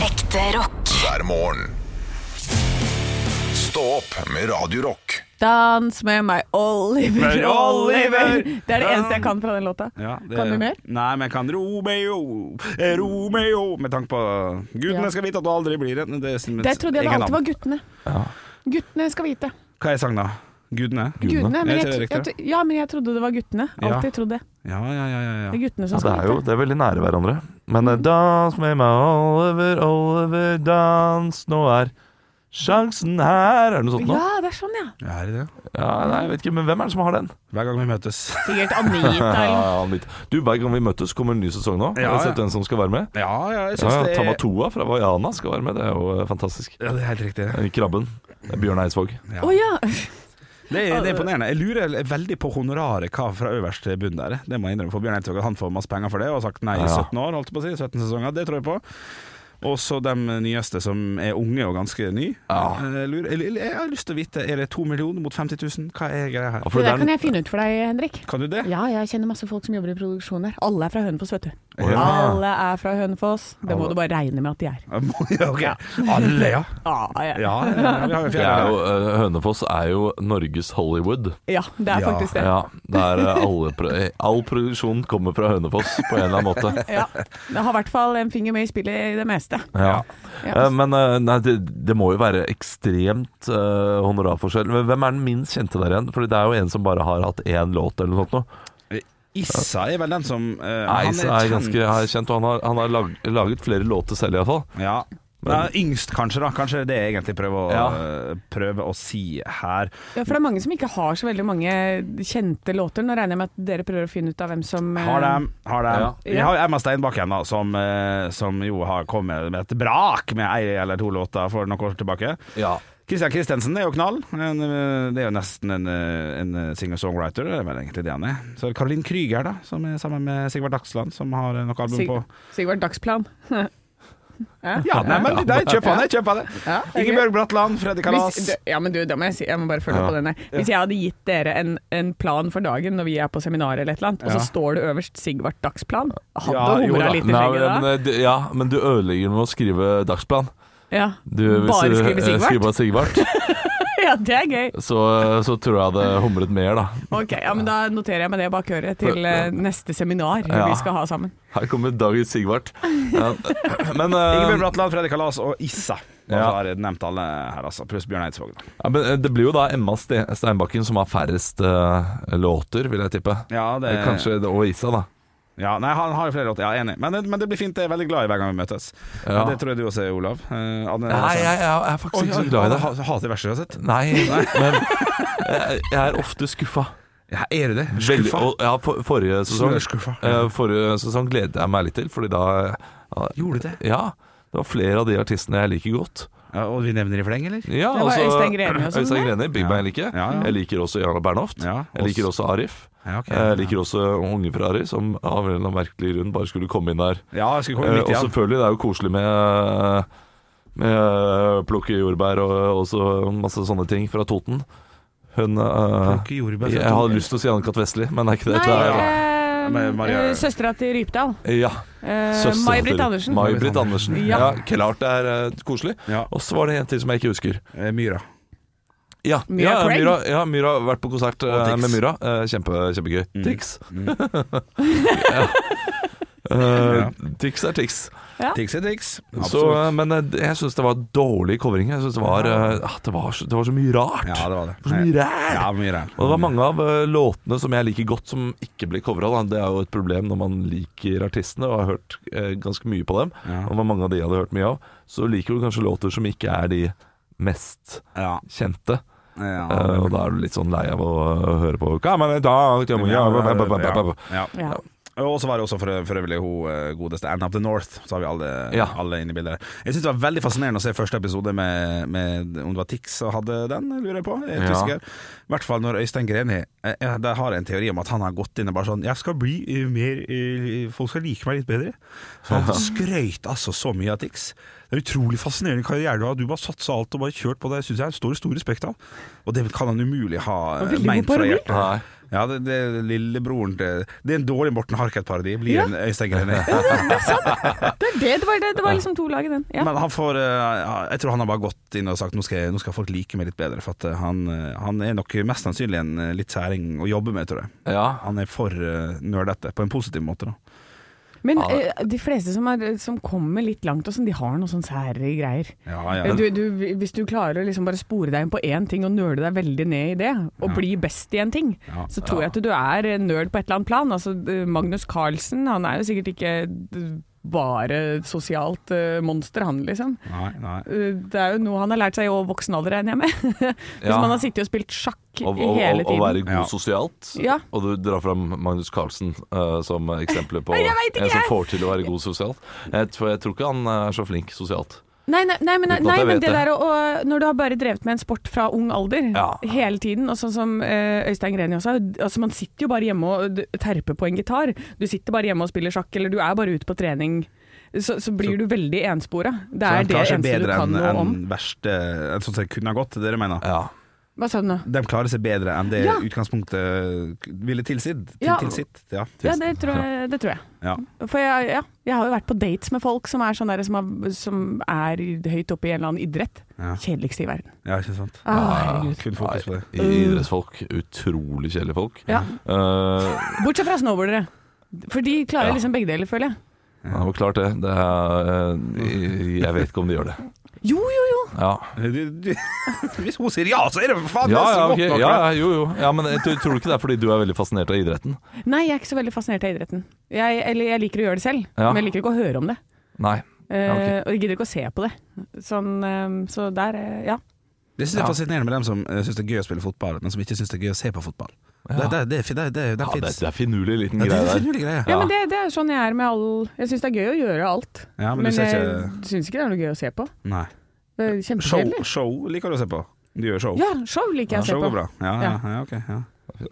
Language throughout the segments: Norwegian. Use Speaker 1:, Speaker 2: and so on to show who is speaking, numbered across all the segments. Speaker 1: Ekte rock.
Speaker 2: hver morgen. Stå opp med Radio Rock.
Speaker 3: Dans med meg, Oliver,
Speaker 4: Men
Speaker 3: Oliver.
Speaker 4: Oliver!
Speaker 3: Det er det eneste jeg kan fra den låta.
Speaker 4: Ja, det-
Speaker 3: Kan du mer?
Speaker 4: Nei, men jeg kan Romeo, eh, Romeo Med tanke på Gudene
Speaker 3: Ja.
Speaker 4: skal vite at du aldri blir det. Det, er sin-
Speaker 3: Der trodde jeg det
Speaker 4: egen
Speaker 3: alltid
Speaker 4: navn.
Speaker 3: var guttene.
Speaker 4: Ja.
Speaker 3: Guttene skal vite.
Speaker 4: Hva er sangen da? Gudene?
Speaker 3: Gudene. Men
Speaker 4: Er
Speaker 3: jeg,
Speaker 4: ikke det
Speaker 3: tro- jeg,
Speaker 4: riktig?
Speaker 3: tro- ja, men jeg trodde det var guttene.
Speaker 4: Ja.
Speaker 3: Alltid trodd det.
Speaker 4: Ja, ja, ja, ja,
Speaker 3: Det er
Speaker 4: ja.
Speaker 3: guttene
Speaker 5: Ja,
Speaker 3: som
Speaker 5: Altså,
Speaker 3: skal
Speaker 5: det er jo
Speaker 3: vite.
Speaker 5: det er veldig nære hverandre. Men eh, dans med meg, Oliver, Oliver, dans, nå er sjansen her. Er det noe sånt nå?
Speaker 3: Ja, det er sånn, ja.
Speaker 4: Er det det?
Speaker 5: Ja, nei, jeg vet ikke, men hvem er det som har den?
Speaker 4: Hver gang vi møtes.
Speaker 3: Sikkert Anita
Speaker 5: Ja,
Speaker 3: eller
Speaker 5: ja, han vet. Du, Hver gang vi møtes, kommer en ny sesong nå.
Speaker 4: Ja,
Speaker 5: Har
Speaker 4: ja.
Speaker 5: du sett hvem som skal være med?
Speaker 4: Ja, ja, jeg
Speaker 5: Ja,
Speaker 4: syns
Speaker 5: ja,
Speaker 4: det
Speaker 5: Tamatoa fra Vaiana skal være med. Det er jo eh, fantastisk.
Speaker 4: Ja, det er helt riktig.
Speaker 5: Eh, Krabben. Det er Bjørn Eidsvåg.
Speaker 3: Å ja!
Speaker 4: Det er, det er imponerende. Jeg lurer veldig på honoraret hva fra øverst til bunn der. er. Det må jeg innrømme for Bjørn Eidsvåg. Han får masse penger for det og har sagt nei i
Speaker 5: Ja.
Speaker 4: 17 år, holdt jeg på å si. 17 sesonger. Det tror jeg på. Og så de nyeste som er unge og ganske ny.
Speaker 5: Ja.
Speaker 4: Jeg, lurer, jeg, jeg har lyst til å vite, er det to millioner mot 50 000? Hva er greia her?
Speaker 5: Ja,
Speaker 3: Det
Speaker 5: det er
Speaker 3: der kan
Speaker 5: den-
Speaker 3: jeg finne ut for deg, Henrik.
Speaker 4: Kan du det?
Speaker 3: Ja, jeg kjenner masse folk som jobber i produksjon her. Alle er fra Hønefoss, vet du.
Speaker 5: Ja.
Speaker 3: Alle er fra Hønefoss. Det må
Speaker 4: Alle.
Speaker 3: du bare regne med at de er.
Speaker 4: Ja, ok. Alle, ja.
Speaker 3: Ah, ja.
Speaker 4: Ja, ja, vi har jo
Speaker 5: Det er
Speaker 4: fjerde.
Speaker 5: jo, eh, Hønefoss er jo Norges Hollywood.
Speaker 3: ja, det er
Speaker 4: Ja.
Speaker 3: faktisk det.
Speaker 5: Ja, der eh, alle, pro- eh, all produksjon kommer fra Hønefoss på en eller annen måte.
Speaker 3: Ja. Det har i hvert fall en finger med i spillet i det meste.
Speaker 5: Ja.
Speaker 3: Ja.
Speaker 5: Eh, Men eh, nei, det, det må jo være ekstremt eh, honorarforskjell. Men hvem er den minst kjente der igjen? Fordi det er jo en som bare har hatt én låt eller noe sånt. nå.
Speaker 4: Issa er vel den som eh, han
Speaker 5: Ice er
Speaker 4: kjent.
Speaker 5: ganske er kjent, og han har, han har lag, laget flere låter selv iallfall.
Speaker 4: Ja. Nei, yngst, kanskje. da Kanskje det er egentlig prøver å,
Speaker 5: Ja.
Speaker 4: prøve å si her.
Speaker 3: Ja, for det er mange som ikke har så veldig mange kjente låter. Nå regner jeg med at dere prøver å finne ut av hvem som eh,
Speaker 4: Har dem, har dem.
Speaker 5: Ja.
Speaker 4: Vi har Emma Steinbakk igjen, da, som, eh, som jo har kommet med et brak med ei eller to låter for noen år tilbake.
Speaker 5: Ja.
Speaker 4: Christian Christensen er jo knall. En, eh, Det er jo nesten en, eh, en singer-songwriter, det er vel egentlig det han er. Så er det Caroline Krüger, da, som er sammen med Sigvard Dagsland, som har eh, noe album
Speaker 3: Sig
Speaker 4: på
Speaker 3: Sigvard Dagsplan. ja,
Speaker 4: Ja, nei, men der, kjøp han, jeg kjøper det!
Speaker 3: Ja, ok.
Speaker 4: Ingebjørg Bratland, Freddy Kalas.
Speaker 3: Hvis, du- ja, men du, da må jeg, si, jeg må bare følge
Speaker 5: Ja.
Speaker 3: på den der. Hvis jeg hadde gitt dere en, en plan for dagen når vi er på seminar eller et eller annet, og
Speaker 4: Ja.
Speaker 3: så står det øverst Sigvard Dagsplan, hadde
Speaker 4: Ja,
Speaker 3: ja,
Speaker 4: jo da.
Speaker 3: humra litt i
Speaker 5: Nei,
Speaker 3: skjegget
Speaker 5: men,
Speaker 3: da.
Speaker 5: eh, du- ja, men du ødelegger med å skrive dagsplan.
Speaker 3: Ja.
Speaker 5: eh, Du,
Speaker 3: Bare
Speaker 5: du, eh,
Speaker 3: skrive Sigvard?
Speaker 5: skriver bare Sigvard,
Speaker 3: ja, det er gøy.
Speaker 5: så, eh, så tror jeg det humret mer, da.
Speaker 3: Ok, ja, men Da noterer jeg meg det bak øret til eh, neste seminar
Speaker 5: Ja.
Speaker 3: vi skal ha sammen.
Speaker 5: Her kommer dagens Sigvard. Ja. Men, eh,
Speaker 4: Ingebjørg Bratland, Freddy Kalas og Issa. Og så
Speaker 5: Ja.
Speaker 4: har jeg nevnt alle her, altså. Pluss Bjørn Eidsvåg. da.
Speaker 5: ja, men eh, det blir jo da Emma Ste- Steinbakken som har færrest eh, låter, vil jeg tippe.
Speaker 4: Ja, det,
Speaker 5: Eh, Kanskje det- og Isa, da.
Speaker 4: Ja, nei, han har jo flere låter, ja, enig. Men, men det blir fint. Jeg er veldig glad i hver gang vi møtes.
Speaker 5: Ja.
Speaker 4: Det tror jeg du også er, Olav. Eh, Anne,
Speaker 5: Nei, jeg, jeg er
Speaker 4: Oi,
Speaker 5: faktisk ikke så glad i det.
Speaker 4: ha- Hater verset uansett.
Speaker 5: Nei, men jeg, jeg er ofte skuffa.
Speaker 4: Ja, er du det?
Speaker 5: Veldig-
Speaker 4: Skuffa?
Speaker 5: og- Ja, for, forrige sesong
Speaker 4: Snøskuffa.
Speaker 5: eh, Forrige sesong gledet jeg meg litt til, fordi da ja,
Speaker 4: Gjorde du det?
Speaker 5: Ja. Det var flere av de artistene jeg liker godt.
Speaker 4: Ja, og vi nevner i fleng, eller?
Speaker 5: Ja, altså-
Speaker 3: Det var Øystein Greni og sånn,
Speaker 5: Øystein
Speaker 3: det.
Speaker 5: Greni, Big Bang liker jeg.
Speaker 4: Ja, ja.
Speaker 5: Jeg liker også Jarla Bernhoft.
Speaker 4: Ja,
Speaker 5: Jeg liker også Arif.
Speaker 4: Ja, ok.
Speaker 5: Jeg liker også Unge Ferrari, som av en eller annen merkelig grunn bare skulle komme inn der.
Speaker 4: Ja, jeg skulle komme midt
Speaker 5: Eh, Og
Speaker 4: i han.
Speaker 5: selvfølgelig, det er jo koselig med, med eh, plukke jordbær og også masse sånne ting fra Toten. Hun eh,
Speaker 4: Plukke jordbær fra
Speaker 5: Jeg har
Speaker 4: Toten.
Speaker 5: lyst til å si Anne-Kat. Vestli, men det er ikke det.
Speaker 3: Nei,
Speaker 5: det er,
Speaker 4: Men Maria-
Speaker 3: eh, søstera til Rypdal.
Speaker 5: ja.
Speaker 3: Eh,
Speaker 5: Søster-
Speaker 3: May-Britt Andersen.
Speaker 5: May-Britt Andersen.
Speaker 3: Ja.
Speaker 5: Ja. klart det er eh, koselig.
Speaker 4: Ja.
Speaker 5: Og så var det en til som jeg ikke husker.
Speaker 4: Eh, Myra.
Speaker 5: Ja,
Speaker 3: Myra
Speaker 5: ja,
Speaker 3: Craig.
Speaker 5: Myra, ja, Myra har vært på konsert eh,
Speaker 4: Tix. Mm.
Speaker 5: med Myra. Eh, Kjempe, kjempegøy. Tix. ja.
Speaker 4: Ja.
Speaker 5: Eh, Tix er Tix.
Speaker 4: Tix er Tix.
Speaker 5: Så,
Speaker 4: Absolutt.
Speaker 5: eh, men eh, jeg syns det var dårlig covering. Jeg synes det, var, eh, ah, det, var så, det var så mye rart.
Speaker 4: Ja, det var det.
Speaker 5: så mye
Speaker 4: Nei.
Speaker 5: ræl.
Speaker 4: Ja, mye ræl.
Speaker 5: Og det var mange av eh, låtene som jeg liker godt, som ikke blir covra. Det er jo et problem når man liker artistene og har hørt eh, ganske mye på dem.
Speaker 4: Ja.
Speaker 5: Og det var mange av de jeg hadde hørt mye av. Så liker du kanskje låter som ikke er de mest
Speaker 4: Ja.
Speaker 5: kjente.
Speaker 4: Ja.
Speaker 5: Eh, og da er du litt sånn lei av å eh, høre på Come on, dog, come on, yeah, blah, blah, blah, blah, blah.
Speaker 4: Ja.
Speaker 3: Ja.
Speaker 4: Og så var det også for, for øvrig hun eh, godeste Anne of the North, så har vi alle,
Speaker 5: Ja.
Speaker 4: alle inne i bildet. der. Jeg syns det var veldig fascinerende å se første episode med, med om det var Tix som hadde den, lurer jeg på. Jeg er ikke
Speaker 5: Ja.
Speaker 4: usikker. I hvert fall når Øystein Greni eh, ja, Der har jeg en teori om at han har gått inn og bare sånn Jeg skal bli eh, mer eh, Folk skal like meg litt bedre. Så han skrøyt altså så mye av Tix. Det er utrolig fascinerende karriere du har. Du bare satsa alt og bare kjørt på det. Det syns jeg står i stor respekt av. Og det kan han umulig ha
Speaker 3: Det var
Speaker 4: eh,
Speaker 3: veldig god
Speaker 4: meint fra
Speaker 3: parodi.
Speaker 4: hjertet.
Speaker 5: Nei.
Speaker 4: Ja, det, det er lillebroren til Det er en dårlig Morten Harket-parodi, blir
Speaker 3: Ja.
Speaker 4: en Øystein Greni.
Speaker 3: Det, er det, det, var, det, det var liksom to lag i den. Ja.
Speaker 4: Men han får eh, Jeg tror han har bare gått inn og sagt nå skal, jeg- nå skal folk like meg litt bedre. For at eh, han, eh, han er nok mest sannsynlig en eh, litt særing å jobbe med, tror jeg.
Speaker 5: Ja.
Speaker 4: Han er for eh, nerdete, på en positiv måte, da.
Speaker 3: Men
Speaker 5: Ja, det-
Speaker 3: eh, de fleste som, er, som kommer litt langt, og sånn, de har noen sånne sære greier.
Speaker 4: Ja, ja.
Speaker 3: Du, du, hvis du klarer å liksom bare spore deg inn på én ting og nøle deg veldig ned i det, og
Speaker 4: Ja.
Speaker 3: bli best i en ting,
Speaker 4: Ja.
Speaker 3: så tror jeg at du er en nerd på et eller annet plan. Altså, eh, Magnus Carlsen han er jo sikkert ikke eh, bare et sosialt eh, monster, han liksom.
Speaker 4: Nei, nei.
Speaker 3: Eh, Det er jo noe han har lært seg i voksen alder, regner jeg med. Hvis
Speaker 5: Ja.
Speaker 3: man har sittet og spilt sjakk
Speaker 5: Og,
Speaker 3: i
Speaker 5: og,
Speaker 3: hele
Speaker 5: og, og
Speaker 3: tiden.
Speaker 5: være
Speaker 4: Ja.
Speaker 5: god sosialt.
Speaker 3: Ja.
Speaker 5: Og du drar fram Magnus Carlsen eh, som eksempel på
Speaker 3: Nei, jeg vet ikke,
Speaker 5: en som
Speaker 3: jeg.
Speaker 5: får til å være god sosialt. Jeg, tror- jeg tror ikke han eh, er så flink sosialt.
Speaker 3: Nei, nei, nei, men,
Speaker 5: Uten at
Speaker 3: nei,
Speaker 5: jeg
Speaker 3: men
Speaker 5: vet
Speaker 3: det
Speaker 5: det.
Speaker 3: der å, å Når du har bare drevet med en sport fra ung alder
Speaker 5: Ja.
Speaker 3: hele tiden, og sånn som eh, Øystein Greni også altså Man sitter jo bare hjemme og d- terper på en gitar. Du sitter bare hjemme og spiller sjakk, eller du er bare ute på trening. Så, så blir du veldig enspora. Det
Speaker 4: Så
Speaker 3: er
Speaker 4: han
Speaker 3: det
Speaker 4: klarer seg
Speaker 3: eneste du
Speaker 4: bedre
Speaker 3: kan
Speaker 4: enn
Speaker 3: noe om.
Speaker 4: enn verste enn Sånn som det kunne ha gått, dere mener?
Speaker 5: Ja.
Speaker 3: Hva sa du nå?
Speaker 4: De klarer seg bedre enn det
Speaker 3: Ja.
Speaker 4: utgangspunktet eh, ville tilsidd. Til,
Speaker 3: Ja.
Speaker 4: tilsitt, ja.
Speaker 3: Ja, det tror jeg. Det tror jeg.
Speaker 4: ja.
Speaker 3: For jeg, ja, jeg har jo vært på dates med folk som er, sånn der, som har, som er høyt oppe i en eller annen idrett.
Speaker 4: Ja.
Speaker 3: Kjedeligste i verden.
Speaker 4: ja, ikke sant.
Speaker 3: Å, herregud.
Speaker 4: Kun fokus på det.
Speaker 5: Nei,
Speaker 3: Mm.
Speaker 5: Idrettsfolk. Utrolig kjedelige folk.
Speaker 3: Ja.
Speaker 5: Eh,
Speaker 3: Bortsett fra snowboardere. For de klarer
Speaker 5: Ja.
Speaker 3: liksom begge deler, føler jeg.
Speaker 5: ja, det var klart det. det er, eh, jeg vet ikke om de gjør det.
Speaker 3: Jo, jo, jo!
Speaker 5: Ja,
Speaker 4: Du- du- Hvis hun sier ja, så er det for faen
Speaker 5: ja,
Speaker 4: nesten
Speaker 5: ja,
Speaker 4: godt
Speaker 5: ok.
Speaker 4: nok,
Speaker 5: ja,
Speaker 4: da.
Speaker 5: ja jo, jo. Ja, men jeg tror tror du ikke det er fordi du er veldig fascinert av idretten?
Speaker 3: Nei, jeg er ikke så veldig fascinert av idretten. Jeg, eller jeg liker å gjøre det selv,
Speaker 5: Ja.
Speaker 3: men jeg liker ikke å høre om det.
Speaker 5: Nei.
Speaker 3: Eh,
Speaker 5: Ja, ok.
Speaker 3: Og jeg gidder ikke å se på det. Sånn, eh, så der, eh, ja.
Speaker 4: Det synes jeg
Speaker 5: Ja.
Speaker 4: er fascinerende med dem som eh, synes det er gøy å spille fotball, men som ikke synes det er gøy å se på fotball. Det, det, det, det, det, det
Speaker 5: Ja, det,
Speaker 4: finnes.
Speaker 5: det er finurlig liten
Speaker 4: Ja, det er
Speaker 5: greie
Speaker 4: en
Speaker 5: der.
Speaker 4: finurlig greie.
Speaker 3: ja. men det, det er sånn jeg er med all Jeg syns det er gøy å gjøre alt,
Speaker 4: Ja, men eh, du
Speaker 3: men,
Speaker 4: ser
Speaker 3: jeg
Speaker 4: ikke-
Speaker 3: syns ikke det er noe gøy å se på.
Speaker 4: Nei.
Speaker 3: Det er
Speaker 4: Show,
Speaker 3: Kjempekjedelig.
Speaker 4: show liker du å se på. Du gjør show.
Speaker 3: Ja, show liker jeg å se
Speaker 4: show
Speaker 3: på.
Speaker 4: går bra. Ja, ja, ja, ok. Ja.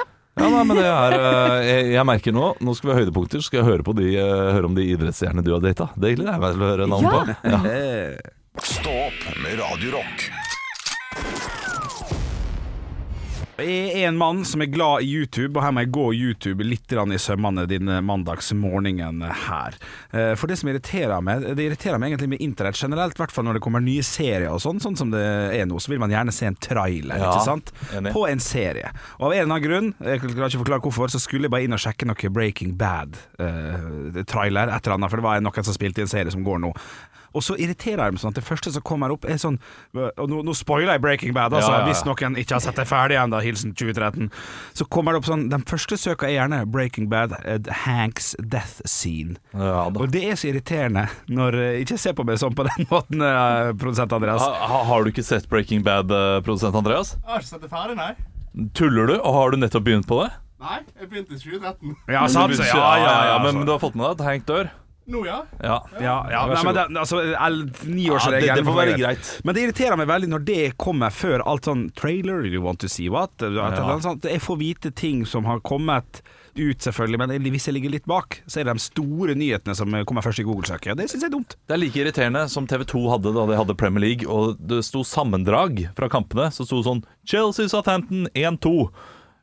Speaker 5: Ja, nei, men det er, eh, jeg, jeg merker nå Nå skal vi ha høydepunkter. Skal jeg høre, på de, eh, høre om de idrettsstjernene du har data? Det gleder jeg meg til å høre navn
Speaker 3: Ja.
Speaker 5: på.
Speaker 4: Eh,
Speaker 2: Stå opp med Radio Rock.
Speaker 4: Jeg er en mann som er glad i YouTube, og her må jeg gå YouTube litt grann i sømmene denne mandagsmorgenen her. Eh, For det som irriterer meg, det irriterer meg egentlig med internett generelt, i hvert fall når det kommer nye serier og sånn, sånn som det er nå, så vil man gjerne se en trailer,
Speaker 5: Ja,
Speaker 4: ikke sant?
Speaker 5: enig.
Speaker 4: På en serie. Og av en eller annen grunn, jeg klarer ikke å forklare hvorfor, så skulle jeg bare inn og sjekke noe Breaking Bad-trailer, et eller annet, for det var noen som spilte i en serie som går nå. Og så irriterer jeg meg sånn at det første som kommer opp er sånn Og nå, nå spoiler jeg Breaking Bad, altså,
Speaker 5: Ja, ja, ja.
Speaker 4: hvis noen ikke har sett det ferdig ennå, hilsen 2013. Så kommer det opp sånn Den første søka er gjerne Breaking Bad, eh, Hanks death scene.
Speaker 5: Ja, da.
Speaker 4: Og det er så irriterende når eh, Ikke se på meg sånn på den måten, eh, produsent Andreas.
Speaker 5: Ha, ha- har du ikke sett Breaking Bad, eh, produsent Andreas?
Speaker 1: Jeg har ikke sett det ferdig, nei.
Speaker 5: Tuller du? Og har du nettopp begynt på det?
Speaker 1: Nei, jeg begynte i 2013.
Speaker 4: Ja, sant, så, ja, altså. ja, ja,
Speaker 5: Men
Speaker 4: så-
Speaker 5: du har fått med deg at Hank dør?
Speaker 1: Nå, ja.
Speaker 5: Ja.
Speaker 4: ja, ja,
Speaker 5: Vær
Speaker 4: nei,
Speaker 5: så
Speaker 4: men
Speaker 5: god.
Speaker 4: den, altså, el- niårsregelen
Speaker 5: Ja, det- det får være
Speaker 4: være
Speaker 5: greit.
Speaker 4: Men det irriterer meg veldig når det kommer før alt sånn trailer, you want to see what? et eller annet sånt. sånn Jeg får vite ting som har kommet ut, selvfølgelig, men jeg- hvis jeg ligger litt bak, så er det de store nyhetene som kommer først i Google-søket. Det syns jeg er dumt.
Speaker 5: Det er like irriterende som TV 2 hadde da de hadde Premier League, og det sto sammendrag fra kampene. Så sto det sånn Chelsea Southampton 1-2.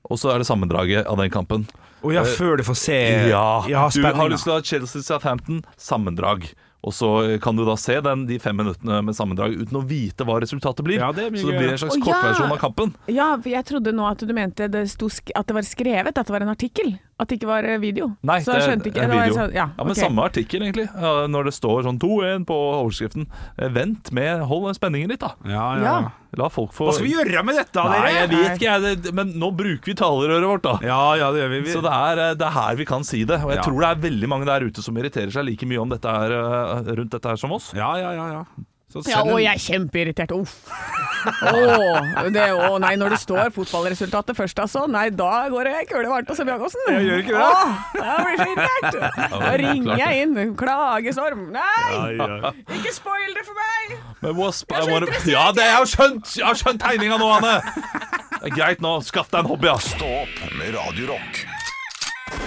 Speaker 5: Og så er det sammendraget av den kampen.
Speaker 4: Og ja, før du får se Eh, ja
Speaker 5: Eh, du har
Speaker 4: spenninga.
Speaker 5: lyst til å ha Chelsea Southampton sammendrag. Og så eh, kan du da se den, de fem minuttene med sammendrag uten å vite hva resultatet blir.
Speaker 4: Ja, det er mye
Speaker 5: så det
Speaker 4: gøy.
Speaker 5: blir en slags
Speaker 3: Å, ja.
Speaker 5: kortversjon av kampen.
Speaker 3: Ja, for jeg trodde nå at du mente det sto sk at det var skrevet, at det var en artikkel. At det ikke var eh, video.
Speaker 5: Nei,
Speaker 3: så jeg
Speaker 5: det er
Speaker 3: skjønte ikke.
Speaker 5: en
Speaker 3: da var jeg
Speaker 5: video.
Speaker 3: sånn- ja,
Speaker 5: Ja, men
Speaker 3: ok.
Speaker 5: samme artikkel, egentlig. Ja, Når det står sånn 2-1 på overskriften. Eh, Vent med Hold spenningen litt, da.
Speaker 4: Ja, ja.
Speaker 3: Ja.
Speaker 5: La folk få
Speaker 4: Hva skal vi gjøre med dette, dere?
Speaker 5: Nei, jeg vet ikke, jeg. Det- Men nå bruker vi talerøret vårt, da.
Speaker 4: Ja, ja, det gjør vi. vi.
Speaker 5: Så det er, eh, det er her vi kan si det. Og jeg
Speaker 4: Ja.
Speaker 5: tror det er veldig mange der ute som irriterer seg like mye om dette her, eh, rundt dette her som oss.
Speaker 4: Ja, ja, ja. ja. Så
Speaker 3: Ja,
Speaker 4: send en-
Speaker 3: og jeg er kjempeirritert. Uff. Å, det, å nei, når det står fotballresultatet først, altså. Nei, da går det kule varmt hos Seb Jacobsen. Jeg
Speaker 4: gjør ikke det.
Speaker 3: jeg blir så irritert. Da
Speaker 5: det er klart
Speaker 3: ringer jeg inn. Klagestorm. Nei,
Speaker 4: Ja, ja.
Speaker 3: ikke spoil det for meg!
Speaker 5: Men wasp, jeg
Speaker 3: så
Speaker 5: må-
Speaker 3: interessert,
Speaker 5: Ja, det jeg har skjønt! Jeg har skjønt tegninga nå, Anne! Det er greit nå, skaff deg en hobby, ass.
Speaker 2: Stå opp med Radio Rock.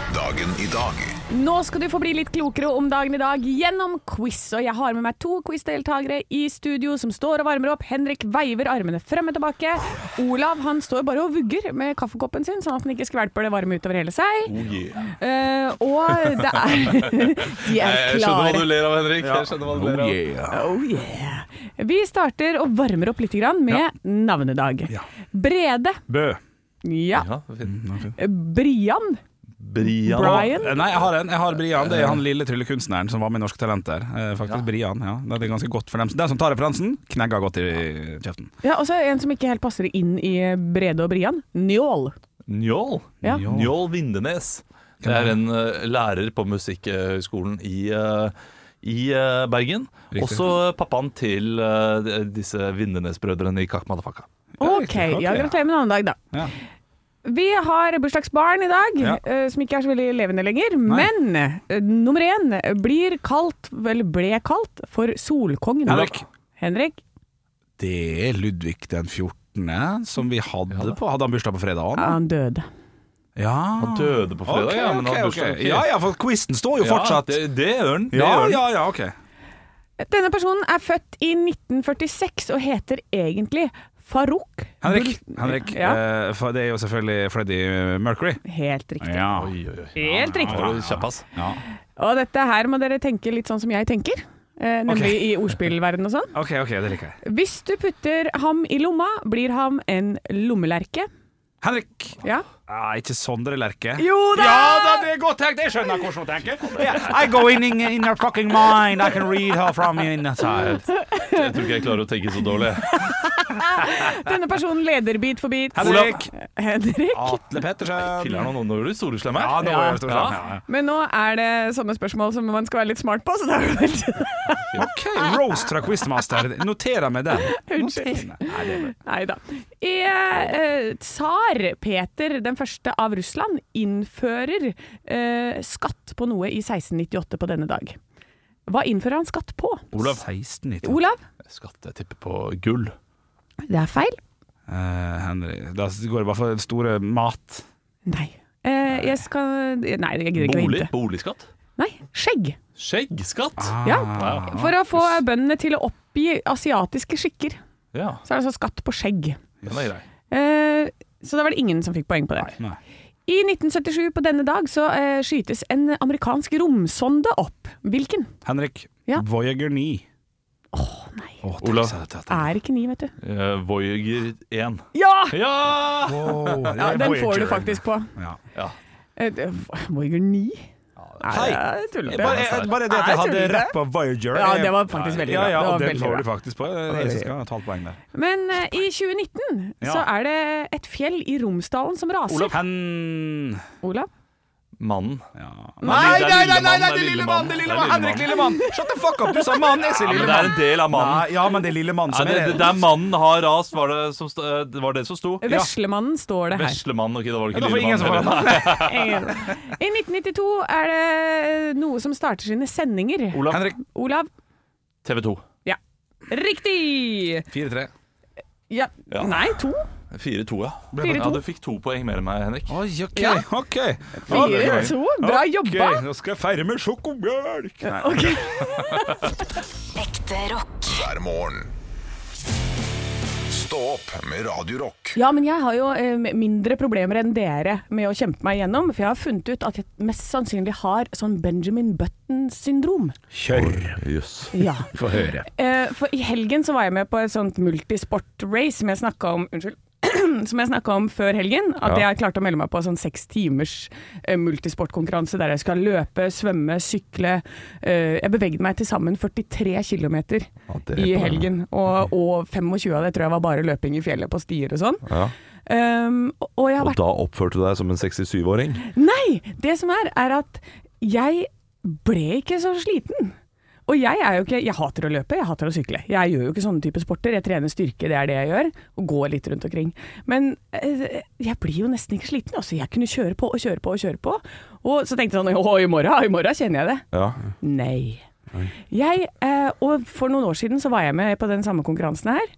Speaker 2: Dagen i dag.
Speaker 3: Nå skal du få bli litt klokere om dagen i dag gjennom quiz. Og jeg har med meg to quizdeltakere i studio som står og varmer opp. Henrik veiver armene frem og tilbake. Olav han står bare og vugger med kaffekoppen sin, sånn at den ikke skvelper det varme utover hele seg.
Speaker 5: Oh,
Speaker 3: Eh, og det er De er
Speaker 5: Jeg skjønner hva du
Speaker 3: klare.
Speaker 5: ler av, Henrik. Jeg skjønner hva du ler av.
Speaker 3: Oh yeah. Vi starter og varmer opp litt grann med navnedag.
Speaker 4: Ja.
Speaker 3: Brede.
Speaker 4: Bø.
Speaker 3: Ja.
Speaker 5: Ja, fint.
Speaker 3: Brian.
Speaker 5: Brian.
Speaker 3: Brian.
Speaker 4: Eh, Nei, jeg har en. Jeg har Brian. Det er han lille tryllekunstneren som var med i Norske Talenter. Eh, Faktisk Brian, ja. Det er ganske godt for dem. Den som tar referansen, knegger godt i kjeften.
Speaker 3: Ja, og så en som ikke helt passer inn i Brede og Brian. Njål.
Speaker 5: Njål.
Speaker 3: Ja.
Speaker 5: Njål Vindenes. Det er en eh, lærer på Musikkhøgskolen i, eh, i eh, Bergen.
Speaker 4: Riktig.
Speaker 5: Også pappaen til eh, disse Vindenes-brødrene i Kakk Madafaka.
Speaker 3: Ok,
Speaker 4: riktig. Ok,
Speaker 3: ja,
Speaker 4: ja.
Speaker 3: gratulerer med navnedag, da.
Speaker 4: Ja.
Speaker 3: Vi har bursdagsbarn i dag,
Speaker 4: Ja.
Speaker 3: eh, som ikke er så veldig levende lenger. Men eh, nummer én blir kalt, vel ble kalt, for Solkongen.
Speaker 4: Henrik.
Speaker 3: Henrik.
Speaker 4: Det er Ludvig den 14. Som vi hadde
Speaker 5: Ja, da.
Speaker 4: på Hadde han bursdag på fredag
Speaker 3: Ja,
Speaker 4: òg?
Speaker 3: han døde.
Speaker 4: Ja.
Speaker 5: Han døde på
Speaker 4: Ah.
Speaker 5: fredag,
Speaker 4: Ok,
Speaker 5: ja, men han
Speaker 4: ok,
Speaker 5: hadde
Speaker 4: ok.
Speaker 5: bursdag.
Speaker 4: ja, ja, for quizen står jo fortsatt.
Speaker 5: Ja, det, det gjør han. Det
Speaker 4: Ja,
Speaker 5: gjør han.
Speaker 4: ja, ja, ok.
Speaker 3: Denne personen er født i 1946 og heter egentlig Farouk.
Speaker 4: Henrik,
Speaker 3: Bul-
Speaker 4: Henrik
Speaker 3: Ja,
Speaker 4: eh, for det er jo selvfølgelig Freddie Mercury.
Speaker 3: helt riktig.
Speaker 4: Ja.
Speaker 5: Oi, oi, oi.
Speaker 3: Helt
Speaker 5: Ja,
Speaker 3: riktig.
Speaker 5: det var Kjapp, ass.
Speaker 4: Ja.
Speaker 3: Og dette her må dere tenke litt sånn som jeg tenker. eh, Nemlig i ordspillverden og sånn.
Speaker 4: Ok, ok, det liker jeg.
Speaker 3: Hvis du putter ham i lomma, blir ham en lommelerke.
Speaker 4: Henrik!
Speaker 3: Ja.
Speaker 4: Ah, ikke Sondre Lerche.
Speaker 3: Jo da!
Speaker 4: Ja da, det er godt tenkt! Jeg skjønner hvordan hun tenker. Yeah, I go in, in, in her fucking mind. I can read her from inside.
Speaker 5: Jeg tror ikke jeg klarer å tenke så dårlig.
Speaker 3: Denne personen leder bit for bit. Eh,
Speaker 4: Henrik.
Speaker 3: Henrik.
Speaker 4: Atle Pettersen.
Speaker 5: Filler han nå når du storeslem
Speaker 4: Ja,
Speaker 5: her?
Speaker 4: nå er det stor
Speaker 5: Ja.
Speaker 4: skjerm, ja.
Speaker 3: Men nå er det sånne spørsmål som man skal være litt smart på, så da er det vel
Speaker 4: OK, roast fra Quizmaster. Noterer meg den.
Speaker 3: Unnskyld.
Speaker 4: Nei, det er bra.
Speaker 3: Nei da. Er, eh, Tsar Peter den første av Russland innfører eh, skatt på noe i 1698 på denne dag. Hå innfører han skatt på?
Speaker 5: Olav.
Speaker 4: 1690.
Speaker 3: Olav?
Speaker 5: Skatt, jeg tipper på gull.
Speaker 3: Det er feil.
Speaker 4: Eh, Henry, da går det bare for den store mat.
Speaker 3: Nei. Eh, jeg skal Nei, jeg gidder ikke å
Speaker 5: Bolig,
Speaker 3: hinte.
Speaker 5: boligskatt?
Speaker 3: Nei, skjegg.
Speaker 5: Skjeggskatt?
Speaker 4: Ah.
Speaker 3: Ja.
Speaker 5: Wow.
Speaker 3: For å få bøndene til å oppgi asiatiske skikker,
Speaker 5: Ja,
Speaker 3: så er det altså skatt på skjegg.
Speaker 5: den er grei.
Speaker 3: Eh, Så da var det ingen som fikk poeng på det.
Speaker 4: Nei.
Speaker 3: I 1977 på denne dag så eh, skytes en amerikansk romsonde opp. Hvilken?
Speaker 4: Henrik.
Speaker 3: Ja.
Speaker 4: Voyager 9.
Speaker 3: Nei,
Speaker 4: Oh,
Speaker 5: Olav.
Speaker 3: er ikke ni, vet du.
Speaker 5: Eh, Voyager 1.
Speaker 3: Ja!
Speaker 5: Ja!
Speaker 3: ja den får du faktisk på.
Speaker 4: Ja.
Speaker 3: Eh, det- Voyager 9? Nei, jeg tuller.
Speaker 4: Bare, bare det at jeg hadde rett på Voyager.
Speaker 3: Ja, det var faktisk veldig bra.
Speaker 4: Ja, ja,
Speaker 3: Det var
Speaker 4: og den
Speaker 3: veldig
Speaker 4: får
Speaker 3: bra.
Speaker 4: du faktisk på. Jeg skal ha et halvt poeng der.
Speaker 3: Men eh, i 2019 så
Speaker 4: Ja.
Speaker 3: er det et fjell i Romsdalen som raser.
Speaker 4: Olav Hen...
Speaker 3: Olav?
Speaker 5: Mannen.
Speaker 4: Nei,
Speaker 5: det er
Speaker 4: nei, nei,
Speaker 5: lille
Speaker 4: nei, nei, det
Speaker 5: mann, det er
Speaker 4: er
Speaker 5: lille
Speaker 4: lille
Speaker 5: mann,
Speaker 4: mann, det er
Speaker 5: det
Speaker 4: lille
Speaker 5: er
Speaker 4: mann,
Speaker 5: lille
Speaker 4: Henrik
Speaker 5: mann.
Speaker 4: lille mann. Shut the fuck up, du sa mann, jeg sier
Speaker 5: Ja,
Speaker 4: lille
Speaker 5: men det er
Speaker 4: mann.
Speaker 5: en del av mannen.
Speaker 4: Nei, ja, men det er lille mann
Speaker 5: Ja,
Speaker 4: som
Speaker 5: det,
Speaker 4: er
Speaker 5: det, det er mannen har rast, var det, som, sto- eh, det var det som sto?
Speaker 3: Veslemannen står det her.
Speaker 5: Veslemann, ok, det var
Speaker 4: Ja,
Speaker 5: ikke
Speaker 4: da får
Speaker 5: lille
Speaker 4: ingen som får
Speaker 5: mann.
Speaker 4: den.
Speaker 3: Ingen. I 1992 er det eh, noe som starter sine sendinger.
Speaker 5: Olav,
Speaker 4: Henrik,
Speaker 3: Olav?
Speaker 5: TV 2.
Speaker 3: Riktig!
Speaker 4: 4-3.
Speaker 3: Ja.
Speaker 5: Ja.
Speaker 3: Nei, to.
Speaker 5: 4-2, ja.
Speaker 3: Fire, to.
Speaker 5: ja. Du fikk to poeng mer enn meg, Henrik.
Speaker 4: Oi, ok,
Speaker 3: Ja.
Speaker 4: ok.
Speaker 3: Fire, to. Bra
Speaker 4: Ok,
Speaker 3: jobba.
Speaker 4: nå skal jeg feire med sjokomjølk. Nei,
Speaker 6: Ekte rock.
Speaker 2: Hver morgen. Stå opp med Radio Rock.
Speaker 3: Ja, men jeg har jo eh, mindre problemer enn dere med å kjempe meg igjennom, for jeg har funnet ut at jeg mest sannsynlig har sånn Benjamin Button-syndrom.
Speaker 4: kjør.
Speaker 5: Jøss.
Speaker 3: Ja.
Speaker 4: Få høre.
Speaker 3: Eh, for i helgen så var jeg med på et sånt multisport-race som jeg snakka om Unnskyld. Som jeg snakka om før helgen, at jeg klarte å melde meg på sånn seks timers eh, multisportkonkurranse der jeg skal løpe, svømme, sykle. Eh, jeg bevegde meg til sammen 43 km
Speaker 5: det er
Speaker 3: i
Speaker 5: imponerende.
Speaker 3: helgen, og, og 25 av det tror jeg var bare løping i fjellet på stier og sånn. Um, og- og jeg har vært
Speaker 5: da oppførte du deg som en 67-åring?
Speaker 3: Nei! Det som er, er at jeg ble ikke så sliten. Og jeg er jo ikke Jeg hater å løpe, jeg hater å sykle. Jeg gjør jo ikke sånne type sporter. Jeg trener styrke, det er det jeg gjør. Og går litt rundt omkring. Men eh, jeg blir jo nesten ikke sliten. Altså, jeg kunne kjøre på og kjøre på og kjøre på. Og så tenkte jeg sånn Å, i morgen, i morgen kjenner jeg det. Nei. Jeg, eh, og for noen år siden så var jeg med på den samme konkurransen her,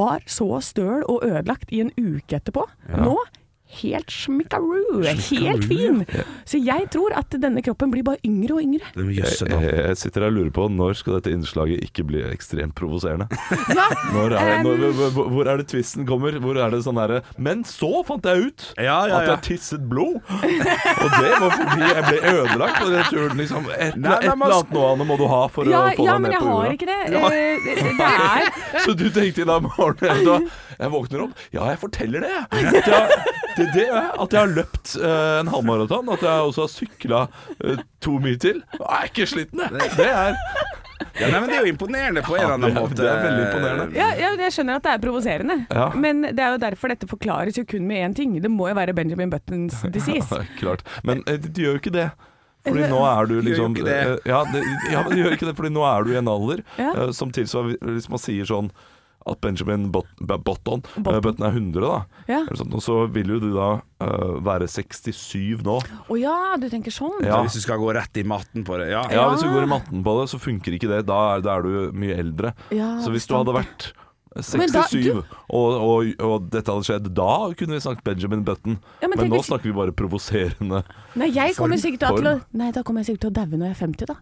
Speaker 3: var så støl og ødelagt i en uke etterpå. Nå helt smikkaroo, helt fin. Så jeg tror at denne kroppen blir bare yngre og yngre.
Speaker 4: Den jøsse da.
Speaker 5: Eh, Jeg, jeg sitter her og lurer på når skal dette innslaget ikke bli ekstremt provoserende. Når er det,
Speaker 3: em,
Speaker 5: når, hvor- hvor- hvor er det tvisten kommer? Hvor er det sånn derre Men så fant jeg ut
Speaker 4: Ja, ja,
Speaker 5: at
Speaker 4: ja.
Speaker 5: jeg tisset blod! Og det var fordi jeg ble ødelagt på den turen. Liksom. Et,
Speaker 4: Nei,
Speaker 5: et
Speaker 4: nei, man-
Speaker 5: eller annet nå, Anne, må du ha for
Speaker 3: Ja,
Speaker 5: å få
Speaker 3: ja,
Speaker 5: deg
Speaker 3: men jeg
Speaker 5: ned på jorda.
Speaker 3: har ikke det. Eh, det, det er
Speaker 5: Så du tenkte i dag morgen jeg, da, jeg våkner opp Ja, jeg forteller det, jeg. At jeg, det, det er at jeg har løpt eh, en halvmaraton. At jeg også har sykla eh, to mil til. Jeg er ikke sliten, jeg. Det er
Speaker 4: Ja, nei, men det er jo imponerende på en eller annen
Speaker 5: Ja,
Speaker 4: måte.
Speaker 5: det er veldig imponerende.
Speaker 3: Ja, ja, jeg skjønner at det er provoserende,
Speaker 5: Ja.
Speaker 3: men det er jo derfor dette forklares jo kun med én ting. Det må jo være Benjamin Buttons disease.
Speaker 5: Ja, klart. Men eh, du gjør jo ikke det. Fordi nå er du liksom
Speaker 4: ikke det.
Speaker 5: eh, Ja, det, ja, men du gjør ikke det, fordi nå er du i en alder
Speaker 3: Ja.
Speaker 5: eh, som tilsvarer Hvis man sier sånn at Benjamin Bot- B- Botton eh,
Speaker 3: Botton.
Speaker 5: Button er 100, da.
Speaker 3: Ja.
Speaker 5: Eller sånt, og så vil jo du da eh, være 67 nå.
Speaker 3: Å ja, du tenker sånn.
Speaker 5: Ja.
Speaker 4: Hvis du skal gå rett i matten på det. Ja,
Speaker 5: Ja, Hvis du går i matten på det, så funker ikke det. Da er, da er du mye eldre.
Speaker 3: Ja,
Speaker 5: så hvis du
Speaker 3: sant
Speaker 5: hadde
Speaker 3: det.
Speaker 5: vært
Speaker 3: Men
Speaker 5: 67,
Speaker 3: da-
Speaker 5: og, og, og dette hadde skjedd, da kunne vi snakket Benjamin Button.
Speaker 3: Ja, men
Speaker 5: men
Speaker 3: tenk
Speaker 5: nå
Speaker 3: hvis-
Speaker 5: snakker vi bare provoserende.
Speaker 3: Nei, jeg kommer
Speaker 5: Form-
Speaker 3: sikkert til å Nei, da kommer jeg sikkert til å daue når jeg er 50, da.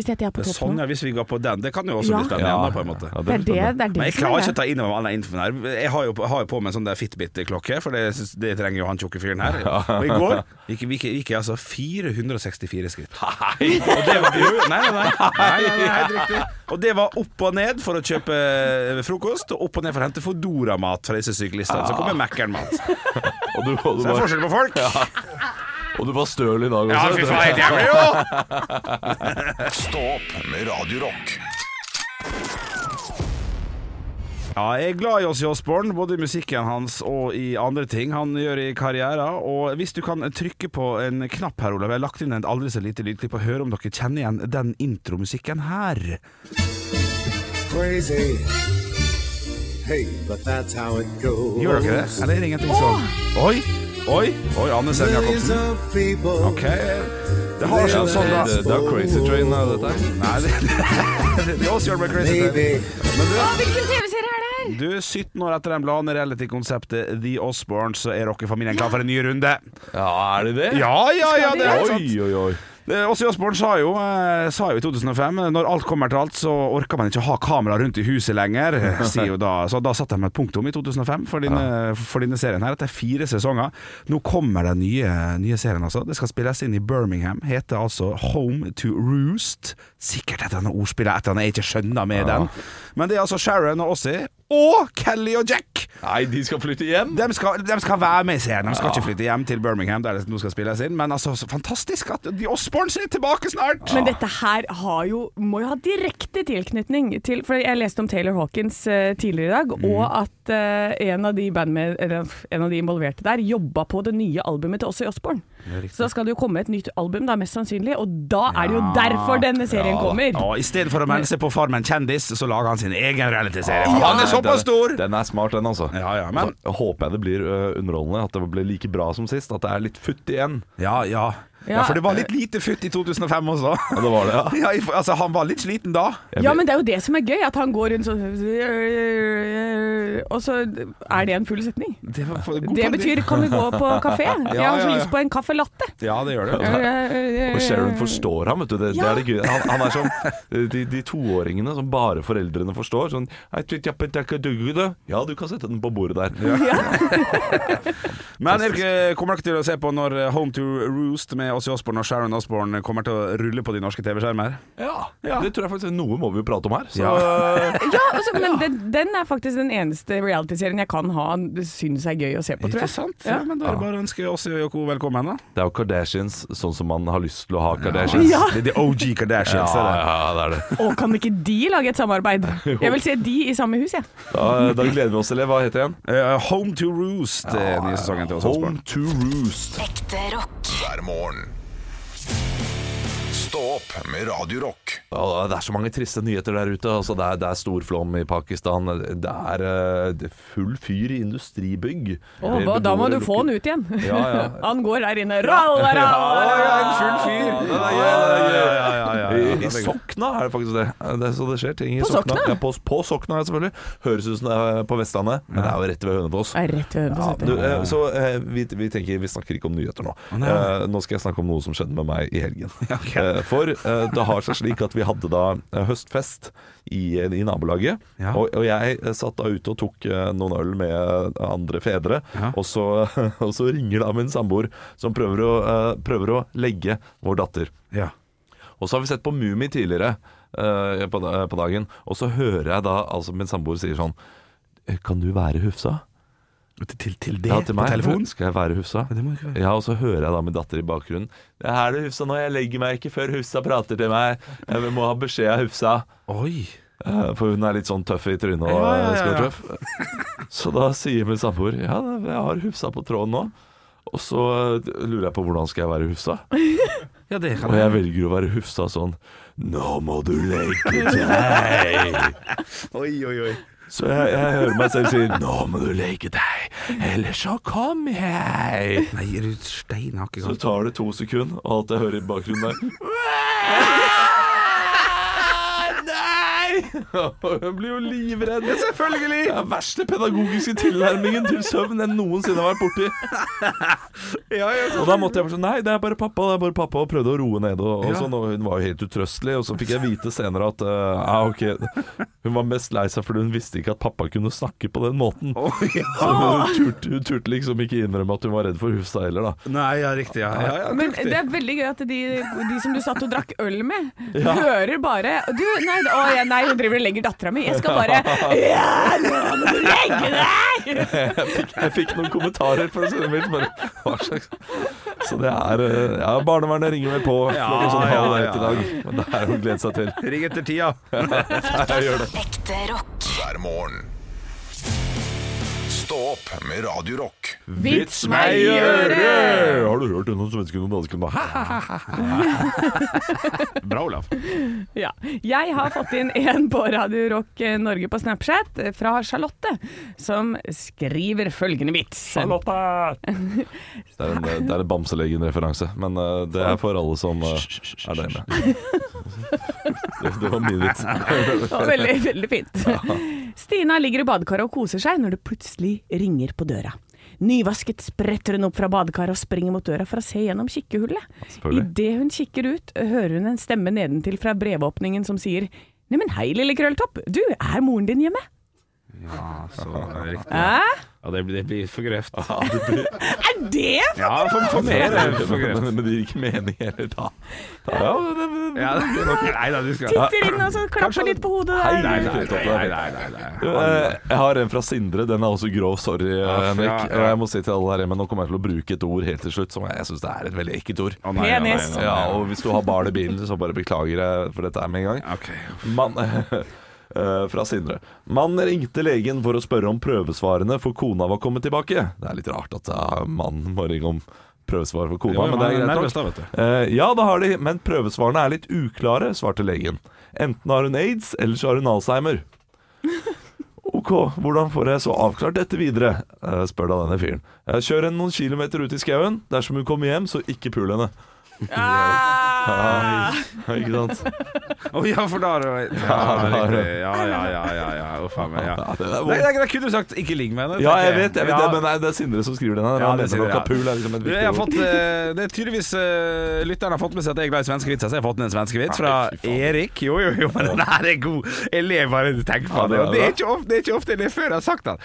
Speaker 3: Hvis dette er på
Speaker 4: Det er
Speaker 3: toppen.
Speaker 4: Sånn,
Speaker 3: nå.
Speaker 4: ja, hvis vi går på den. Det kan jo også
Speaker 3: Ja.
Speaker 4: bli spennende da, på en måte.
Speaker 3: Det er
Speaker 5: Ja, blir
Speaker 3: det,
Speaker 5: spennende.
Speaker 3: det, er
Speaker 4: Men
Speaker 3: det
Speaker 4: jeg
Speaker 3: som
Speaker 4: klarer
Speaker 3: er
Speaker 4: ikke å
Speaker 3: greia.
Speaker 4: ta inn over all den infoen her. Jeg har jo, på- har jo på meg en sånn der Fitbit-klokke, for det, syns- det trenger jo han tjukke fyren her. Og i går gikk, gikk, gikk jeg altså 464 skritt. Og det var, jo, nei, nei, nei, nei, nei, nei, helt riktig. Og det var opp og ned for å kjøpe eh, frokost, og opp og ned for å hente Fodora-mat fra disse syklistene. Så kommer Mækkern-mat. Så
Speaker 5: Og du, og, du
Speaker 4: det er
Speaker 5: var,
Speaker 4: forskjell på folk.
Speaker 5: og du var støl i dag også.
Speaker 4: Ja, fy faen, helt jævlig jo!
Speaker 2: Stå opp med Radio Rock.
Speaker 4: Ja, jeg er glad i oss i Osborne, både i musikken hans og i andre ting han gjør i karrieren. Og hvis du kan trykke på en knapp her, Olav, jeg har lagt inn et aldri så lite lydklipp, og høre om dere kjenner igjen den intromusikken her.
Speaker 6: crazy. Hey, but that's how it goes.
Speaker 4: Gjør dere det? Eller er det ingenting som Oi, oi, oi, Anne Sem
Speaker 6: Millions
Speaker 4: Jacobsen.
Speaker 6: of people.
Speaker 4: Ok. Det har seg en sånn,
Speaker 5: Det,
Speaker 4: da.
Speaker 5: det er Crazy Train, er dette her.
Speaker 4: Nei, det, det, det er oss gjør med Crazy Train.
Speaker 6: Maybe.
Speaker 4: Men du,
Speaker 3: Å, hvilken TV-serie er det her?
Speaker 4: du, 17 år etter den bladende reality-konseptet The Osborne, så er rockefamilien klar for en ny runde.
Speaker 5: Ja, er det det?
Speaker 4: Ja, ja, ja, det er helt sant.
Speaker 5: Oi, oi, oi.
Speaker 4: Åse Jåsborn sa, jo, eh, sa jo i 2005 eh, Når alt kommer til alt så orker man ikke ha kamera rundt i huset lenger eh, sier jo da. Så da satte de et punktum i 2005 for denne, for denne serien her Etter fire sesonger Nå kommer den nye, nye serien altså Det skal spilles inn i Birmingham Heter altså Home to Roost Sikkert et eller annet ordspill Et eller annet jeg ikke skjønner med den Men det er altså Sharon og Åse Og Kelly og Jack
Speaker 5: Nei, de skal flytte hjem.
Speaker 4: de skal, de skal være med i serien. De skal ikke flytte hjem til Birmingham, der det nå skal spilles inn. Men altså, så fantastisk at The Osborns er tilbake snart!
Speaker 3: Men dette her har jo, må jo ha direkte tilknytning til For jeg leste om Taylor Hawkins eh, tidligere i dag,
Speaker 4: Mm.
Speaker 3: og at eh, en, av de bandmed, eller, f- en av de involverte der jobba på det nye albumet til Åse Jåsborn. Så da skal det jo komme et nytt album, da, mest sannsynlig, og da er det jo derfor denne serien kommer.
Speaker 4: Og I stedet for å melde seg på Farmen kjendis, så lager han sin egen realityserie.
Speaker 5: Ja,
Speaker 4: For han
Speaker 5: nei,
Speaker 4: er såpass stor!
Speaker 5: Den, den er smart, den, altså.
Speaker 4: Ja, ja, men-
Speaker 5: Da håper jeg det blir ø, underholdende. At det blir like bra som sist. At det er litt futt igjen.
Speaker 4: Ja, ja.
Speaker 3: Ja.
Speaker 4: Ja, for det var litt lite futt i 2005 også.
Speaker 5: Ja, det var det, ja.
Speaker 4: Ja, i- altså, han var litt sliten da.
Speaker 5: Jeg
Speaker 3: Ja,
Speaker 5: blir-
Speaker 3: men det er jo det som er gøy, at han går rundt sånn Og så er det en full setning.
Speaker 4: Det, var for- god
Speaker 3: Det
Speaker 4: poeng.
Speaker 3: betyr 'kan vi gå på kafé'? Jeg har
Speaker 4: ja,
Speaker 3: så
Speaker 4: ja.
Speaker 3: lyst på en caffè latte.
Speaker 4: Ja, det gjør det.
Speaker 3: Mm.
Speaker 5: Og Sharon forstår ham, vet du. Det, det
Speaker 3: Ja.
Speaker 5: er det gøy. Han, han er som ø, de, de toåringene som bare foreldrene forstår. Sånn «Ei, tut, jappe, takke, dugge, da». Ja, du kan sette den på bordet der.
Speaker 4: Men er dere- kommer dere til å se på når eh, Home to Roost med Åse Osborn og Sharon Osborn kommer til å rulle på de norske TV-skjermer?
Speaker 5: Ja, Det tror jeg faktisk Noe må vi jo prate om her. Så
Speaker 4: eh,
Speaker 3: Ja, altså, men den, den er faktisk den eneste realityserien jeg kan ha det synes er gøy å se på, tror jeg.
Speaker 4: Interessant. Ja, men da er det bare å ønske oss og Yoko velkommen, da.
Speaker 5: Det er jo Kardashians sånn som man har lyst til å ha Kardashians.
Speaker 3: Ja.
Speaker 4: Det er de OG Kardashians.
Speaker 5: ja,
Speaker 4: er det.
Speaker 5: ja, det er det.
Speaker 3: Å, kan ikke de lage et samarbeid? Jeg vil se de i samme hus, jeg.
Speaker 5: Da, da gleder vi oss til det. Hva heter det igjen?
Speaker 4: Eh, Home to Roost, ja, nye sesongen til oss. Osborn.
Speaker 5: to Roost.
Speaker 7: Ekte rock.
Speaker 2: hver morgen. Stå Stå opp med Radio Rock.
Speaker 5: Ja, det er så mange triste nyheter der ute. Altså, det, er, det er stor flom i Pakistan. Det er, eh, det er full fyr i industribygg.
Speaker 3: Å, hva- da må du få han ut igjen.
Speaker 5: Ja, ja.
Speaker 3: Han går der inne. Ralla, ralla,
Speaker 5: en full fyr! Ja, ja, ja, ja, ja, ja, ja. I, I
Speaker 4: det er gøy.
Speaker 5: Sokna er det faktisk det. det er så det skjer ting i
Speaker 3: På
Speaker 5: Sokna.
Speaker 3: Sokna?
Speaker 5: Ja, på, på Sokna, selvfølgelig. Høres ut som det er eh, på Vestlandet, men det er jo rett ved Hønefoss.
Speaker 3: Det er rett ved
Speaker 5: Ja,
Speaker 3: hundresetet.
Speaker 5: du, eh, så eh, vi, vi tenker Vi snakker ikke om nyheter nå. Eh, nå skal jeg snakke om noe som skjedde med meg i helgen. Eh, for eh, det har seg slik at vi hadde da eh, høstfest i, i nabolaget.
Speaker 4: Ja.
Speaker 5: Og, og jeg eh, satt da ute og tok eh, noen øl med andre fedre.
Speaker 4: Ja.
Speaker 5: Og, så, og så ringer da min samboer, som prøver å, eh, prøver å legge vår datter.
Speaker 4: Ja.
Speaker 5: Og så har vi sett på Mumi tidligere eh, på, da- på dagen, og så hører jeg da altså min samboer sier sånn «Eh, Kan du være Hufsa?
Speaker 4: Til, til, til det
Speaker 5: ja, til
Speaker 4: på
Speaker 5: meg.
Speaker 4: telefon?
Speaker 5: Skal jeg være Hufsa?
Speaker 4: Ja, det må du ikke være.
Speaker 5: Ja, og så hører jeg da min datter i bakgrunnen. Det her er det Hufsa nå, jeg legger meg ikke før Hufsa prater til meg. Jeg må ha beskjed av Hufsa.
Speaker 4: Oi.
Speaker 5: Eh, For hun er litt sånn tøff i trynet og
Speaker 4: Ja, ja, ja,
Speaker 5: skal
Speaker 4: ja.
Speaker 5: være tøff. Så da sier min samboer ja, jeg har Hufsa på tråden nå. Og så eh, lurer jeg på hvordan skal jeg være Hufsa.
Speaker 4: Ja, det kan
Speaker 5: Og
Speaker 4: jeg.
Speaker 5: jeg velger å være Hufsa sånn Nå må du legge deg.
Speaker 4: Oi, oi, oi.
Speaker 5: Så jeg, jeg hører meg selv si Nå må du legge deg, ellers så kommer jeg.
Speaker 4: Nei, er du steinhakket
Speaker 5: Så
Speaker 4: sånn?
Speaker 5: tar det to sekunder, og alt jeg hører i bakgrunnen er Nei! Og Hun blir jo livredd. selvfølgelig! Det er verste pedagogiske tilnærmingen til søvn jeg noensinne har vært borti. og da måtte jeg bare sånn Nei, det er bare pappa. det er bare pappa Og prøvde å roe ned. Og, og
Speaker 4: Ja.
Speaker 5: sånn, og Hun var jo helt utrøstelig, og så fikk jeg vite senere at eh, ah, ok. Hun var mest lei seg fordi hun visste ikke at pappa kunne snakke på den måten.
Speaker 4: Oi, ja.
Speaker 5: Så hun turte, hun turte liksom ikke innrømme at hun var redd for Hufsa heller, da.
Speaker 4: Nei, ja, riktig. Ja, ja, ja
Speaker 3: Men
Speaker 4: riktig.
Speaker 3: det er veldig gøy at de, de som du satt og drakk øl med, hører bare du, nei, å, ja, nei, hun driver og legger dattera mi. Jeg skal bare Ja, nå må du legge deg!
Speaker 5: jeg, fikk, jeg fikk noen kommentarer fra sønnen min. Bare, hva slags Så det er eh, Ja, barnevernet ringer meg på
Speaker 4: Ja,
Speaker 5: klokken sånn halv
Speaker 4: ja,
Speaker 5: ett i dag. Men det er jo å glede seg til.
Speaker 4: Ring etter tida.
Speaker 5: Jeg gjør det.
Speaker 7: Ekte rock.
Speaker 2: hver morgen. Stå opp med Radio Rock.
Speaker 3: Vits meg i øret!
Speaker 5: Har du hørt noen svensker og dansker nå?
Speaker 4: Bra, Olav.
Speaker 3: Ja. Jeg har fått inn en på Radio Rock eh, Norge på Snapchat eh, fra Charlotte, som skriver følgende vits.
Speaker 5: Det er en, eh, det er en Bamselegen-referanse, men eh, det er for alle som eh, er der inne. Det, det var min vits.
Speaker 3: Det var veldig, veldig fint. Stina ligger i badekaret og koser seg når det plutselig ringer på døra. Nyvasket spretter hun opp fra badekaret og springer mot døra for å se gjennom kikkehullet.
Speaker 5: Selvfølgelig.
Speaker 3: Idet hun kikker ut, hører hun en stemme nedentil fra brevåpningen som sier Neimen hei, lille krølltopp, du, er moren din hjemme?
Speaker 4: Ja, så riktig.
Speaker 3: Hæ?
Speaker 4: Ja, det blir, det blir for grøft.
Speaker 3: Er det
Speaker 4: Ja, for, for mer er det for
Speaker 5: Men,
Speaker 4: grøft.
Speaker 5: men det gir ikke mening heller, da. da ja, det, det,
Speaker 4: Ja, det- nei da, du skal
Speaker 3: Titter inn og så klapper altså, litt på hodet
Speaker 5: Hei,
Speaker 3: der.
Speaker 5: nei,
Speaker 4: Nei, nei, nei, nei,
Speaker 5: Du,
Speaker 4: nei.
Speaker 5: eh, Jeg har en fra Sindre. Den er også grov. Sorry, eh, Henrik.
Speaker 4: ja, ja.
Speaker 5: Og Jeg må si til alle her hjemme, nå kommer jeg til å bruke et ord helt til slutt som jeg syns er et veldig ekkelt ord.
Speaker 4: Å, nei, ja, nei,
Speaker 3: Penis.
Speaker 4: nei,
Speaker 5: Ja,
Speaker 4: nei.
Speaker 5: og hvis du har barn i bilen, så bare beklager jeg for dette her med en gang.
Speaker 4: Ok.
Speaker 5: Mann eh, fra Sindre. Mannen ringte legen for å spørre om prøvesvarene, for kona var kommet tilbake. Det er litt rart at eh, mannen må ringe om prøvesvar for kona,
Speaker 4: Jo,
Speaker 5: men
Speaker 4: man
Speaker 5: det er
Speaker 4: er
Speaker 5: greit.
Speaker 4: nervøs
Speaker 5: nok.
Speaker 4: da, vet du.
Speaker 5: Eh, ja, det har de, men prøvesvarene er litt uklare, svarte legen. Enten har hun aids, eller så har hun alzheimer. Ok, hvordan får jeg så avklart dette videre? Eh, spør da denne fyren. Eh, kjør henne noen kilometer ut i skauen. Dersom hun kommer hjem, så ikke pul henne.
Speaker 3: Ah!
Speaker 5: Ja, ikke sant?
Speaker 4: Å ja, for da har du Ja, riktig. Ja, ja, ja, ja. ja. Å, faen meg. Ja.
Speaker 5: Ja, det er
Speaker 4: Nei,
Speaker 5: vondt.
Speaker 4: det, det kunne du sagt 'ikke ligg med henne'.
Speaker 5: Ja,
Speaker 4: tenker
Speaker 5: jeg vet, jeg vet
Speaker 4: Ja.
Speaker 5: det, men nei, det er Sindre som skriver den her.
Speaker 4: Ja,
Speaker 5: Han
Speaker 4: det
Speaker 5: mener
Speaker 4: sier
Speaker 5: nok
Speaker 4: jeg.
Speaker 5: at pul er liksom et
Speaker 4: Du,
Speaker 5: viktig
Speaker 4: jeg har
Speaker 5: ord.
Speaker 4: fått, eh, det er tydeligvis eh, Lytteren har fått med seg at jeg er glad i svenske vitser, så jeg har fått en svenske vits fra
Speaker 5: Nei, fy faen.
Speaker 4: Erik. Jo, jo, jo, men den her er god. Jeg ler bare når jeg tenker på
Speaker 5: Ja, det
Speaker 4: det.
Speaker 5: er
Speaker 4: Og det
Speaker 5: bra.
Speaker 4: er ikke ofte, det er ikke ofte jeg ler før jeg har sagt den.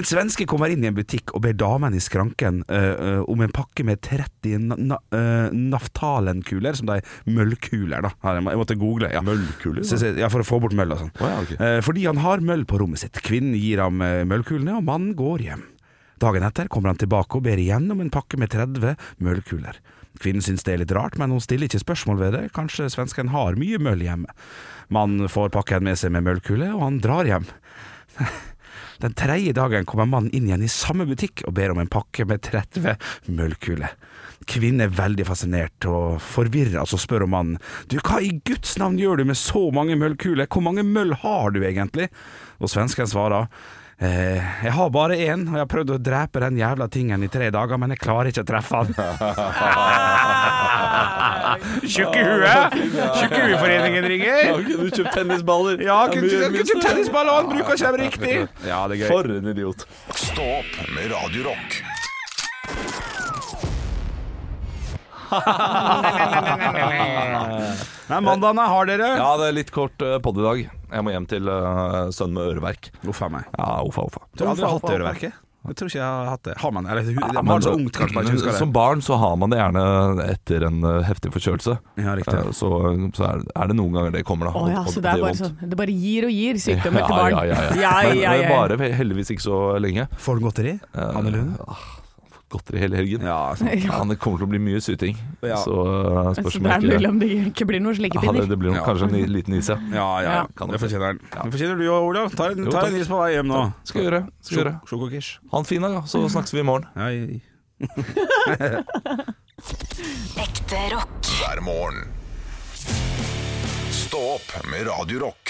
Speaker 4: En svenske kommer inn i en butikk og ber damen i skranken eh, eh, om en pakke med 30 na na eh, naftalenkuler, som de møllkuler, da. Her, Jeg må- jeg måtte google. Ja.
Speaker 5: Møllkuler,
Speaker 4: Så- så- Ja, for å få bort møll og sånn.
Speaker 5: Å, ja, ok.
Speaker 4: Eh, Fordi han har møll på rommet sitt. Kvinnen gir ham eh, møllkulene, og mannen går hjem. Dagen etter kommer han tilbake og ber igjen om en pakke med 30 møllkuler. Kvinnen syns det er litt rart, men hun stiller ikke spørsmål ved det. Kanskje svensken har mye møll hjemme. Mannen får pakken med seg med møllkuler, og han drar hjem. Den tredje dagen kommer mannen inn igjen i samme butikk og ber om en pakke med 30 møllkuler. Kvinnen er veldig fascinert og forvirra, så spør hun mannen Du, hva i Guds navn gjør du med så mange møllkuler? Hvor mange møll har du egentlig? Og svensken svarer Eh, jeg har bare én, og jeg har prøvd å drepe den jævla tingen i tre dager, men jeg klarer ikke å treffe han. Tjukk i huet! Tjukk i hueforeningen ringer!
Speaker 5: Ja, kunne du kjøpt tennisballer?
Speaker 4: Ja,
Speaker 5: Det er
Speaker 4: kunne
Speaker 5: mye-
Speaker 4: kunne
Speaker 5: mye-
Speaker 4: kjøpt tennisball, og han bruker ikke dem riktig! Ja, det er gøy.
Speaker 5: For en idiot.
Speaker 2: Stå opp med Radio Rock.
Speaker 4: Nei, mandagene har dere.
Speaker 5: Ja, det er litt kort uh, pod i dag. Jeg må hjem til eh, sønnen med øreverk.
Speaker 4: Uff a meg.
Speaker 5: Ja, uffa, uffa.
Speaker 4: Du har aldri hatt det øreverket? Jeg tror ikke jeg har hatt det. Har man eller,
Speaker 5: Ja,
Speaker 4: Man
Speaker 5: men-
Speaker 4: var så ungt, kanskje man ikke husker
Speaker 5: Som
Speaker 4: det.
Speaker 5: barn så har man det gjerne etter en eh, heftig forkjølelse.
Speaker 4: Ja, riktig.
Speaker 5: Eh, Så, så er, det- er det noen ganger det kommer, da.
Speaker 3: Å ja,
Speaker 5: Og- og
Speaker 3: så det er
Speaker 5: gjør
Speaker 3: bare
Speaker 5: vondt.
Speaker 3: sånn. Det bare gir og gir sykdommer til
Speaker 5: Ja,
Speaker 3: barn.
Speaker 5: ja, ja, ja. Men,
Speaker 3: ja, ja.
Speaker 5: men bare ve- heldigvis ikke så lenge.
Speaker 4: Får du godteri? Anne Lund?
Speaker 5: Eh, ah, Godteri hele helgen.
Speaker 4: Ja, sant.
Speaker 5: Ja, altså. det kommer til å bli mye syting.
Speaker 4: Ja.
Speaker 5: Så eh, spørs
Speaker 3: Så
Speaker 5: om
Speaker 3: det
Speaker 5: jeg
Speaker 3: er mulig
Speaker 5: ikke
Speaker 3: om det ikke blir noen slike
Speaker 5: ja, det,
Speaker 3: pinner.
Speaker 5: det blir nok
Speaker 4: Ja.
Speaker 5: kanskje en i- liten is, ja.
Speaker 4: Ja, ja, ja.
Speaker 5: Kan
Speaker 4: Det
Speaker 5: nok
Speaker 4: fortjener den. Det fortjener du òg, Olav. Ta en,
Speaker 5: Jo,
Speaker 4: ta
Speaker 5: takk.
Speaker 4: en is på vei hjem nå.
Speaker 5: Skal vi gjøre. Skal vi gjøre.
Speaker 4: Sjok- Sjokokish.
Speaker 5: Ha en fin dag, da. Så
Speaker 4: Mm.
Speaker 5: snakkes vi i morgen.
Speaker 4: Ja, i-
Speaker 7: Ekte rock.
Speaker 2: hver morgen. Stå opp med Radio Rock.